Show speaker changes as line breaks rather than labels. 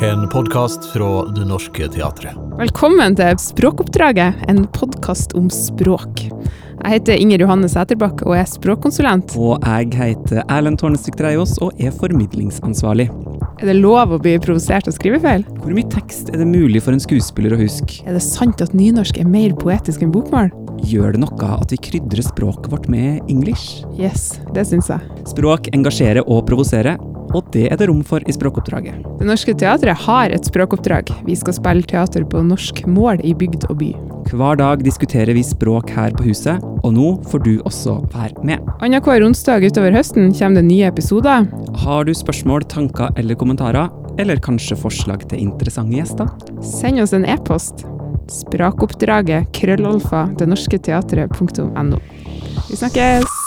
En podkast fra Det Norske Teatret.
Velkommen til Språkoppdraget, en podkast om språk. Jeg heter Inger Johanne Sæterbakk og er språkkonsulent.
Og jeg heter Erlend Tårnesvik Dreiaas og er formidlingsansvarlig.
Er det lov å bli provosert av skrivefeil?
Hvor mye tekst er det mulig for en skuespiller å huske?
Er det sant at nynorsk er mer poetisk enn bokmål?
Gjør det noe at vi krydrer språket vårt med English?
Yes, det syns jeg.
Språk engasjerer og provoserer, og det er det rom for i språkoppdraget.
Det Norske Teatret har et språkoppdrag. Vi skal spille teater på norsk mål i bygd og by.
Hver dag diskuterer vi språk her på huset, og nå får du også være med.
Annenhver onsdag utover høsten kommer det nye episoder.
Har du spørsmål, tanker eller kommentarer, eller kanskje forslag til interessante gjester?
Send oss en e-post. Sprakoppdraget krøllalfa det norske teatret punktum no. Vi snakkes!